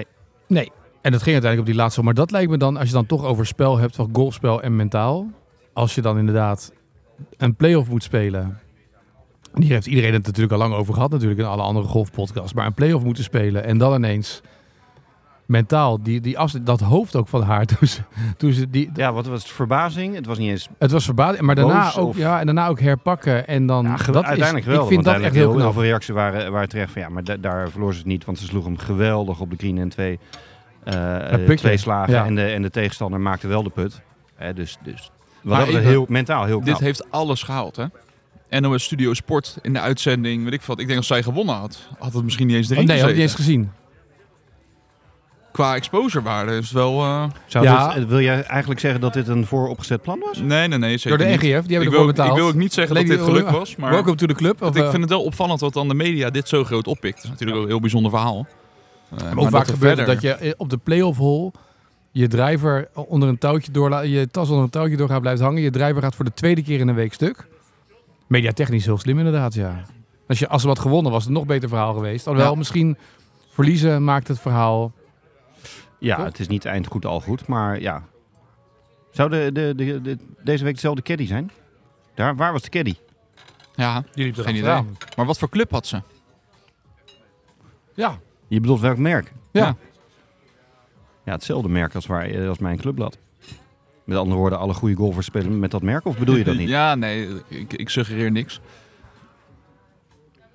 S1: dat ging uiteindelijk op die laatste. Maar dat lijkt me dan, als je dan toch over spel hebt, van golfspel en mentaal. Als je dan inderdaad een play-off moet spelen. en Hier heeft iedereen het natuurlijk al lang over gehad, natuurlijk in alle andere golfpodcasts. Maar een play-off moeten spelen en dan ineens mentaal, die, die afs- dat hoofd ook van haar. Toen ze, toen ze die,
S3: Ja, wat was het? Verbazing? Het was niet eens...
S1: het was verbaasd, maar daarna,
S3: Boos
S1: ook,
S3: of-
S1: ja, en daarna ook herpakken. En dan,
S3: Ja, ge-
S1: dat
S3: uiteindelijk
S1: is,
S3: wel.
S1: Ik vind dat
S3: want
S1: echt
S3: uiteindelijk
S1: heel knap.
S3: veel reacties waren, waren terecht van ja, maar da- daar verloor ze het niet. Want ze sloeg hem geweldig op de green en twee, eh,
S1: Een putje.
S3: twee slagen.
S1: Ja.
S3: En, de, en de tegenstander maakte wel de put. Hè, dus dus
S2: Maar
S3: wat dat betreft
S2: even-
S3: heel, mentaal heel knap.
S2: Dit
S1: Nou.
S2: heeft alles gehaald, hè? NOS Studio Sport in de uitzending, weet ik veel wat. Ik denk als zij gewonnen had, had het misschien niet eens erin
S1: Oh, nee, had ik
S2: gezeten.
S1: niet eens gezien.
S2: Qua exposurewaarde is het wel... eh,
S3: Zou
S1: Ja.
S3: dit- eh, wil jij eigenlijk zeggen dat dit een vooropgezet plan was?
S2: Nee, nee, nee,
S1: Door
S2: zeker
S1: de
S2: niet.
S1: NGF, die hebben
S2: ik,
S1: ervoor
S2: wil, ook-
S1: betaald.
S2: ik wil ook niet zeggen dat
S1: Lady
S2: dit geluk
S1: Ola.
S2: was, maar
S1: Welcome to the club. Of,
S2: want ik
S1: eh,
S2: vind het wel opvallend dat dan de media dit zo groot oppikt. Dat is natuurlijk wel een heel bijzonder verhaal. Eh,
S1: Maar hoe
S2: dat
S1: vaak
S2: er
S1: gebeurt het
S2: verder-
S1: dat je eh, op de playoff hole je driver onder een touwtje doorla- je tas onder een touwtje door gaat blijft hangen. Je driver gaat voor de tweede keer in een week stuk. Mediatechnisch heel slim inderdaad, ja. Als, je, als er wat gewonnen was, het een nog beter verhaal geweest. Alhoewel,
S2: Ja.
S1: misschien verliezen maakt het verhaal...
S3: Ja,
S1: Toch?
S3: het is niet eind goed al goed, maar ja. Zou de, de, de, de- deze week dezelfde caddy zijn? Daar, waar was de caddy?
S2: Ja,
S1: Jullie
S2: geen idee. Maar wat voor club had ze?
S1: Ja.
S3: Je bedoelt welk merk?
S1: Ja.
S2: Ja.
S3: Ja, hetzelfde merk als, waar, eh, als mijn clubblad. Met andere woorden, alle goede golfers spelen met dat merk? Of bedoel je dat niet?
S2: Ja, nee, ik, ik suggereer niks.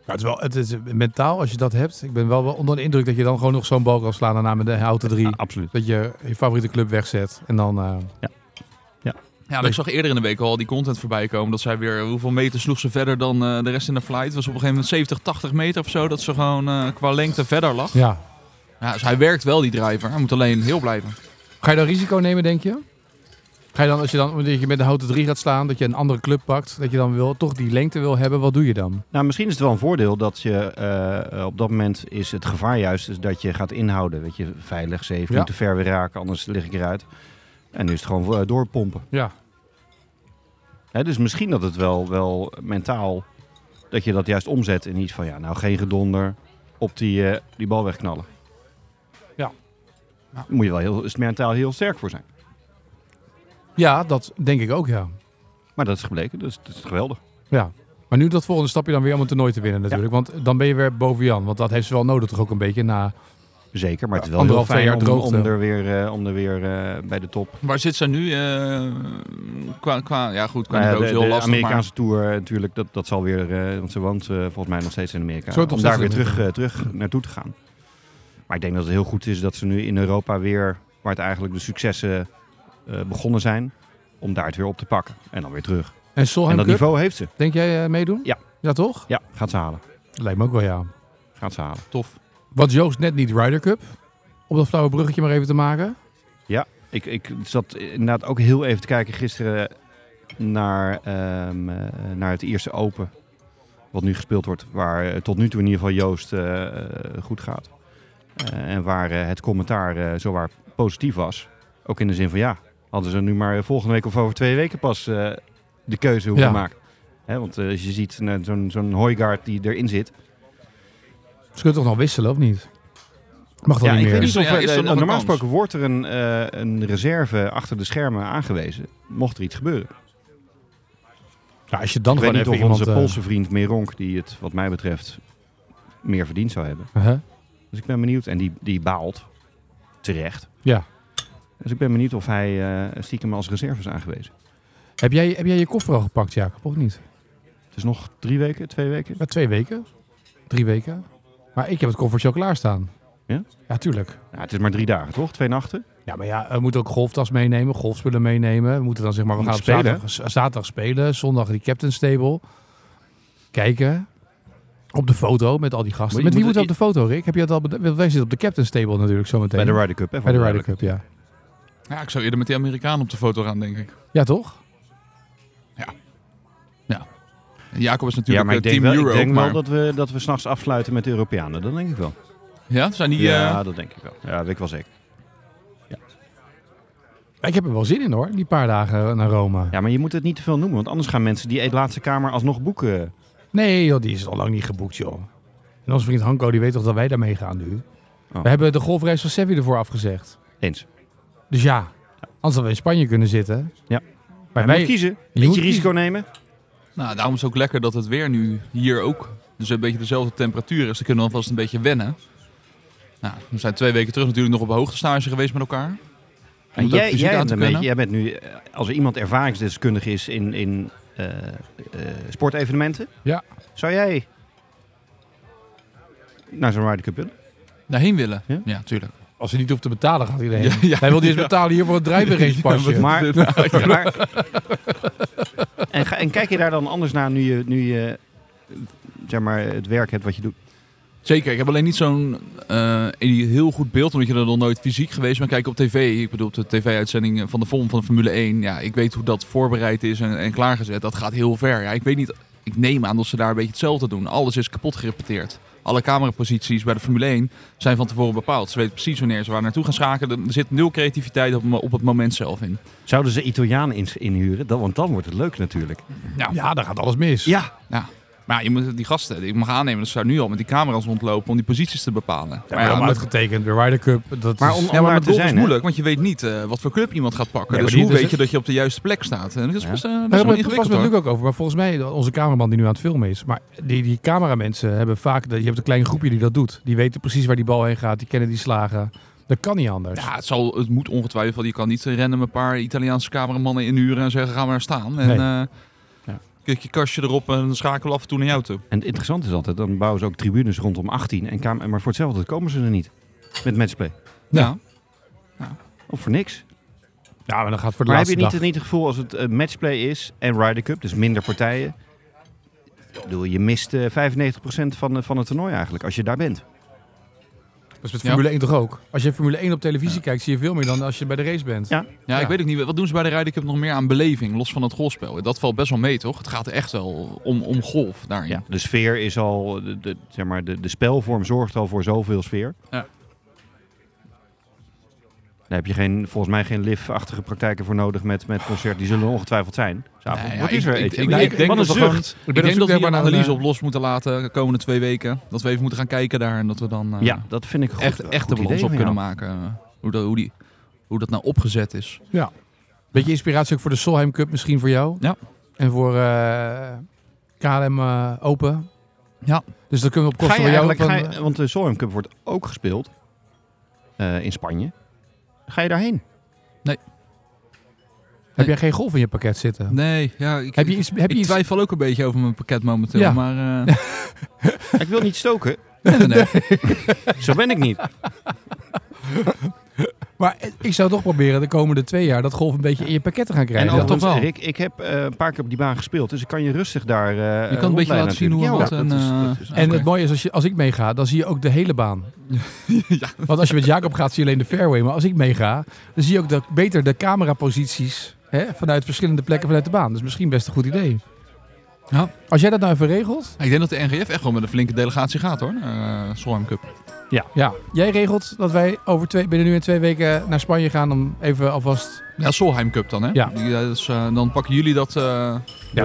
S1: Maar het is wel, het is eh, mentaal, als je dat hebt. Ik ben wel wel onder de indruk dat je dan gewoon nog zo'n bal kan slaan daarna met de houten drie.
S3: Ja, absoluut.
S1: Dat je je favoriete club wegzet. En dan, eh,
S2: Ja, maar ik zag eerder in de week al die content voorbij komen. Dat zij weer, hoeveel meter sloeg ze verder dan eh, de rest in de flight? Het was op een gegeven moment 70, 80 meter of zo. Dat ze gewoon eh, qua lengte verder lag.
S1: ja.
S2: Ja, dus hij werkt wel, die driver. Hij moet alleen heel blijven.
S1: Ga je dan risico nemen, denk je? Ga je dan, als je dan omdat je met de houten drie gaat slaan, dat je een andere club pakt, dat je dan wil, toch die lengte wil hebben, wat doe je dan?
S3: Nou, misschien is het wel een voordeel dat je eh, eh, op dat moment is het gevaar juist is dat je gaat inhouden. Weet je, veilig, safe,
S1: Ja.
S3: niet te ver weer raken, anders lig ik eruit. En nu is het gewoon eh, doorpompen.
S1: Ja.
S3: Hè, dus misschien dat het wel, wel mentaal, dat je dat juist omzet in iets van, ja, nou geen gedonder, op die, eh, die bal wegknallen.
S1: Ja.
S3: Daar Moet je wel heel, is mentaal heel sterk voor zijn.
S1: Ja, dat denk ik ook, ja.
S3: Maar dat is gebleken, dus het is geweldig.
S1: ja. Maar nu dat volgende stapje dan weer om een toernooi te winnen natuurlijk. Want dan ben je weer boven Jan. Want dat heeft ze wel nodig toch ook een beetje na.
S3: Zeker, maar het is
S1: Ja,
S3: wel heel
S1: anderhalf, twee
S3: fijn om,
S1: jaar
S3: om
S1: droogte.
S3: er weer, eh, om er weer eh, bij de top
S2: Waar zit ze nu? eh, qua, qua, ja goed, qua
S3: Nou ja,
S2: niveau is
S3: de,
S2: heel
S3: de
S2: lastig.
S3: Amerikaanse tour eh, natuurlijk, dat, dat zal weer, eh, want ze woont eh, volgens mij nog steeds in Amerika.
S1: Ze woont nog
S3: om daar weer
S1: steeds in
S3: terug, eh, terug naartoe te gaan. Maar ik denk dat het heel goed is dat ze nu in Europa weer, waar het eigenlijk de successen eh, begonnen zijn, om daar het weer op te pakken. En dan weer terug.
S1: En
S3: en
S1: Solheim
S3: dat
S1: Cup,
S3: niveau heeft ze.
S1: denk jij eh, meedoen?
S3: Ja.
S1: Ja toch?
S3: Ja, gaat ze halen.
S1: Lijkt me ook wel ja.
S3: Gaat ze halen.
S2: Maar tof.
S1: Wat Joost net niet Ryder Cup. Om dat flauwe bruggetje maar even te maken.
S3: Ik, ik zat inderdaad ook heel even te kijken gisteren naar, ehm, eh, naar het eerste Open. Wat nu gespeeld wordt. Waar eh, tot nu toe in ieder geval Joost eh, eh, goed gaat. Eh, en waar eh, het commentaar eh, zowaar positief was. Ook in de zin van ja, hadden ze nu maar volgende week of over twee weken pas eh, de keuze hoeven
S1: Ja.
S3: maken. Hè, want eh, als je ziet eh, zo'n zo'n Hoygaard die erin zit.
S1: Ze kunnen toch nog wisselen of niet? Mag dat
S3: Ja,
S1: niet
S3: ik weet
S1: meer?
S3: niet of
S2: Ja,
S3: eh,
S2: is er nog een
S3: normaal
S2: kans?
S3: gesproken wordt er een, eh, een reserve achter de schermen aangewezen. Mocht er iets gebeuren.
S1: Ja, als je dan
S3: ik weet
S1: gewoon even
S3: niet of
S1: iemand...
S3: onze
S1: eh,
S3: Poolse vriend Meronk, die het wat mij betreft meer verdiend zou hebben.
S1: hè?
S3: Dus ik ben benieuwd. En die, die baalt. Terecht.
S1: Ja.
S3: Dus ik ben benieuwd of hij eh, stiekem als reserve is aangewezen.
S1: Heb jij, heb jij je koffer al gepakt, Jacob, of niet?
S3: Het is nog drie weken, twee weken.
S1: Ja, twee weken. Drie weken. Maar ik heb het koffertje al klaarstaan.
S3: Ja?
S1: Ja, tuurlijk.
S3: Ja, Nou, het is maar drie dagen, toch? Twee nachten.
S1: Ja, maar ja, we moeten ook golftas meenemen, golfspullen meenemen. We moeten dan zeg maar, we
S3: Moet
S1: gaan op
S3: spelen,
S1: zaterdag, z- zaterdag spelen, zondag die Captain's Table. Kijken. Op de foto met al die gasten.
S3: Maar je
S1: met wie
S3: moet-
S1: moeten we op de foto, Rick? Heb je dat al beda- Want Wij zitten op de Captain's Table natuurlijk zometeen.
S3: Bij de Ryder Cup, hè?
S1: Bij de Ryder
S3: duidelijk.
S1: Cup, ja.
S2: Ja, ik zou eerder met die Amerikaan op de foto gaan, denk ik.
S1: Ja, toch?
S2: En Jacob is
S3: Ja,
S2: natuurlijk
S3: maar ik
S2: eh,
S3: denk,
S2: Team
S3: wel, ik
S2: Euro.
S3: denk
S2: maar...
S3: wel dat we, dat we s'nachts afsluiten met de Europeanen. Dat denk ik wel.
S2: Ja, zijn die... eh,
S3: Ja, dat denk ik wel. Ja, dat weet ik wel zeker.
S1: Ik heb er wel zin in hoor, die paar dagen naar Rome.
S3: Ja, maar je moet het niet te veel noemen. Want anders gaan mensen die eet laatste kamer alsnog boeken.
S1: Nee, joh, die is al lang niet geboekt, joh. En onze vriend Hanko, die weet toch dat wij daarmee gaan nu?
S3: Oh.
S1: We hebben de golfreis van Sevi ervoor afgezegd.
S3: Eens.
S1: Dus ja, anders hadden we in Spanje kunnen zitten.
S3: Ja.
S1: Maar
S3: Maar
S1: wij,
S3: moet kiezen.
S1: je
S3: Beetje
S1: moet
S3: risico nemen.
S2: Nou, daarom is het ook lekker dat het weer nu hier ook dus een beetje dezelfde temperatuur is. Ze kunnen alvast een beetje wennen. Nou, we zijn twee weken terug natuurlijk nog op hoogtestage geweest met elkaar. Om het
S3: En
S2: ook
S3: jij,
S2: fysiek
S3: jij,
S2: aan
S3: bent
S2: te
S3: een beetje,
S2: kunnen.
S3: jij bent nu, eh, als er iemand ervaringsdeskundige is in, in eh, eh, sportevenementen,
S1: Ja.
S3: zou jij naar zo'n Ryder Cup willen?
S2: Daarheen willen.
S3: Ja?
S2: Ja, tuurlijk.
S1: Als hij niet hoeft te betalen, gaat iedereen.
S2: Ja, ja.
S1: Hij wil niet eens betalen hier voor het drijverrangepasje.
S3: Ja, Maar-
S2: Oh, Nou, Ja, ja.
S3: Maar- en, ga, en kijk je daar dan anders naar nu je, nu je eh, zeg maar, het werk hebt wat je doet?
S2: Zeker, ik heb alleen niet zo'n eh, heel goed beeld, omdat je er nog nooit fysiek geweest bent. Kijk op tv, ik bedoel op de tv-uitzending van de vorm van de Formule 1. Ja, ik weet hoe dat voorbereid is en, en klaargezet. Dat gaat heel ver. Ja, ik weet niet, ik neem aan dat ze daar een beetje hetzelfde doen. Alles is kapot gerepeteerd. Alle cameraposities bij de Formule 1 zijn van tevoren bepaald. Ze weten precies wanneer ze waar naartoe gaan schakelen. Er zit nul creativiteit op, op het moment zelf in.
S3: Zouden ze Italianen in, inhuren? Dan, want dan wordt het leuk natuurlijk.
S1: Ja, daar gaat alles mis.
S3: Ja,
S2: Maar je moet die gasten, ik mag aannemen dat ze daar nu al met die camera's rondlopen om die posities te bepalen.
S1: Ja, maar helemaal
S2: met-
S1: uitgetekend. De Ryder Cup. Dat
S3: Maar
S1: is-
S3: om-
S2: Ja, maar
S3: daar
S2: met
S3: te
S2: golf
S3: zijn,
S2: is
S3: hè?
S2: moeilijk, want je weet niet eh, wat voor club iemand gaat
S1: Ja,
S2: pakken.
S1: maar
S2: dus
S1: die-
S2: hoe
S1: dus
S2: weet je
S1: het-
S2: dat je op de juiste plek staat? En dat is
S3: Ja.
S2: best, eh,
S1: Daar
S2: best
S1: hebben we
S2: wel
S1: het pas
S2: ingewikkeld
S1: met
S2: hoor.
S1: Luc ook over. Maar volgens mij, onze cameraman die nu aan het filmen is. Maar die, die cameramensen hebben vaak. dat- Je hebt een klein groepje die dat doet. Die weten precies waar die bal heen gaat. Die kennen die slagen. Dat kan niet anders.
S2: Ja, het, zal, het moet ongetwijfeld. Je kan niet random een paar Italiaanse cameramannen inhuren en zeggen: ga maar staan. En
S1: Nee.
S2: eh,
S1: Ja.
S2: kijk je kastje erop en schakel af en toe naar jou toe.
S3: En het interessante is altijd, dan bouwen ze ook tribunes rondom 18. En kam- maar voor hetzelfde komen ze er niet. Met matchplay.
S1: Ja.
S2: Ja.
S3: Of voor niks.
S1: Ja, maar dan gaat voor de
S3: Maar heb
S1: laatste
S3: je niet,
S1: dag.
S3: niet het gevoel als het eh, matchplay is en Ryder Cup, dus minder partijen. Ik bedoel, je mist eh, 95% van, eh, van het toernooi eigenlijk, als je daar bent.
S1: Dat is met
S2: Ja.
S1: Formule 1 toch ook? Als je Formule 1 op televisie kijkt, zie je veel meer dan als je bij de race bent.
S3: Ja.
S2: Ja,
S1: Ja.
S2: ik weet ook niet. Wat doen ze bij de Ryder Cup nog meer aan beleving, los van het golfspel? Dat valt best wel mee, toch? Het gaat echt wel om, om golf daarin.
S3: Ja. De sfeer is al, de, de, zeg maar, de, de spelvorm zorgt al voor zoveel sfeer.
S2: Ja.
S3: Daar heb je geen, volgens mij geen live-achtige praktijken voor nodig met, met concerten. Die zullen er ongetwijfeld zijn. s'avonds.
S2: Nee, ja,
S3: Wat
S2: ik-
S3: is er?
S2: ik-
S3: Etienne?
S2: ik-
S3: Nou,
S2: ik denk
S3: wat een
S2: dat we gewoon-
S3: zucht.
S1: Ik ben
S2: Ik
S1: op
S2: denk dat we
S1: zoek
S2: hier een
S1: naar een,
S2: analyse
S1: eh,
S2: op los moeten laten de komende twee weken. Dat we even moeten gaan kijken daar en dat we dan eh,
S3: Ja, dat vind ik goed,
S2: echt, echt
S3: goed
S2: de balans
S3: idee
S2: op
S3: van
S2: kunnen
S3: jou.
S2: maken. eh, Hoe dat, hoe, die, hoe dat nou opgezet is.
S1: Beetje inspiratie ook voor de Solheim Cup misschien voor jou.
S2: Ja.
S1: En voor eh, KLM eh, Open.
S2: Ja.
S1: Dus dan kunnen we op
S3: Ga
S1: kosten
S3: je
S1: van jou...
S3: eigenlijk,
S1: Van,
S3: ga je- want de Solheim Cup wordt ook gespeeld eh, in Spanje. Ga je daarheen?
S1: eh, Heb jij geen golf in je pakket zitten?
S2: Nee, ja, ik,
S1: Heb je iets... Heb je
S2: ik
S1: iets
S2: twijfel ook een beetje over mijn pakket momenteel.
S1: Ja.
S2: Maar eh,
S3: ik wil niet stoken.
S2: nee, nee.
S3: Zo ben ik niet.
S1: maar eh, ik zou toch proberen de komende twee jaar dat golf een beetje in je pakket te gaan
S3: En
S1: krijgen.
S2: Ja, ook-
S3: overigens,
S2: toch wel.
S3: Rick, ik heb eh, een paar keer op die baan gespeeld. Dus ik kan je rustig daar
S2: je
S3: eh,
S2: kan een beetje
S3: rondleiden
S2: laten zien hoe
S3: natuurlijk.
S2: en wat.
S3: Ja,
S2: en,
S3: dat is-
S2: eh,
S3: dat is-
S1: En
S2: oké.
S1: het mooie is, als, je, als ik meega, dan zie je ook de hele baan. Want als je met Jacob gaat, zie je alleen de fairway. Maar als ik meega, dan zie je ook de, beter de cameraposities hè, vanuit verschillende plekken vanuit de baan. Dus misschien best een goed idee.
S2: Ja.
S1: Als jij dat nou even regelt,
S2: Ik denk dat de NGF echt wel met een flinke delegatie gaat hoor. naar, eh Solheim Cup.
S1: ja. jij regelt dat wij over twee, binnen nu en twee weken naar Spanje gaan om even alvast...
S2: Ja, Solheim Cup dan hè.
S1: Ja.
S2: Die, eh, dus, eh, dan pakken jullie dat... eh,
S1: Ja,
S3: wij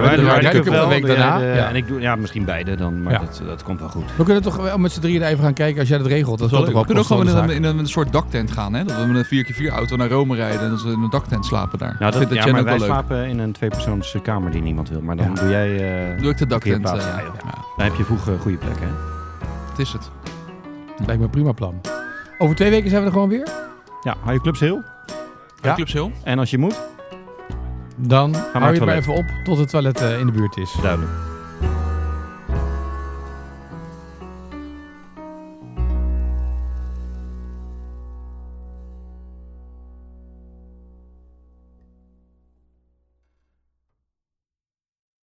S1: wij
S3: doen
S1: doen
S3: Ryder
S1: Ryder
S3: Cup
S1: Cup de week
S3: de-
S1: daarna.
S3: de-
S1: Ja.
S3: En ik doe, ja, misschien beide dan, maar
S1: Ja.
S3: dat, dat komt wel goed.
S1: We kunnen toch wel met z'n drieën er even gaan kijken als jij dat regelt. Dat
S2: Zo,
S1: zal ook
S2: we
S1: wel
S2: kunnen ook
S1: kosten
S2: gewoon in
S1: van
S2: een,
S1: de
S2: in een soort daktent gaan. Hè? Dat we met een 4x4 auto naar Rome rijden en dat we in een daktent slapen daar.
S3: Nou,
S2: Ik
S3: dat,
S2: vind
S3: ja,
S2: Jen
S3: maar
S2: ook
S3: wij
S2: wel leuk.
S3: slapen in een tweepersoons eh, kamer die niemand wil. Maar dan
S1: Ja.
S3: doe jij... eh,
S2: Doe ik de daktent.
S3: parkeerplaats.
S2: eh,
S3: Ja, joh.
S2: ja,
S3: dan heb je vroeg eh, goede plek, hè?
S2: het is het.
S1: zaak. Lijkt me een prima plan. Over twee weken zijn we er gewoon weer.
S3: Ja, hou je clubs heel.
S1: Ja.
S2: Clubs Hill.
S3: En als je moet,
S1: Dan hou je het maar
S3: toilet.
S1: even op tot het toilet eh, in de buurt is.
S3: duidelijk.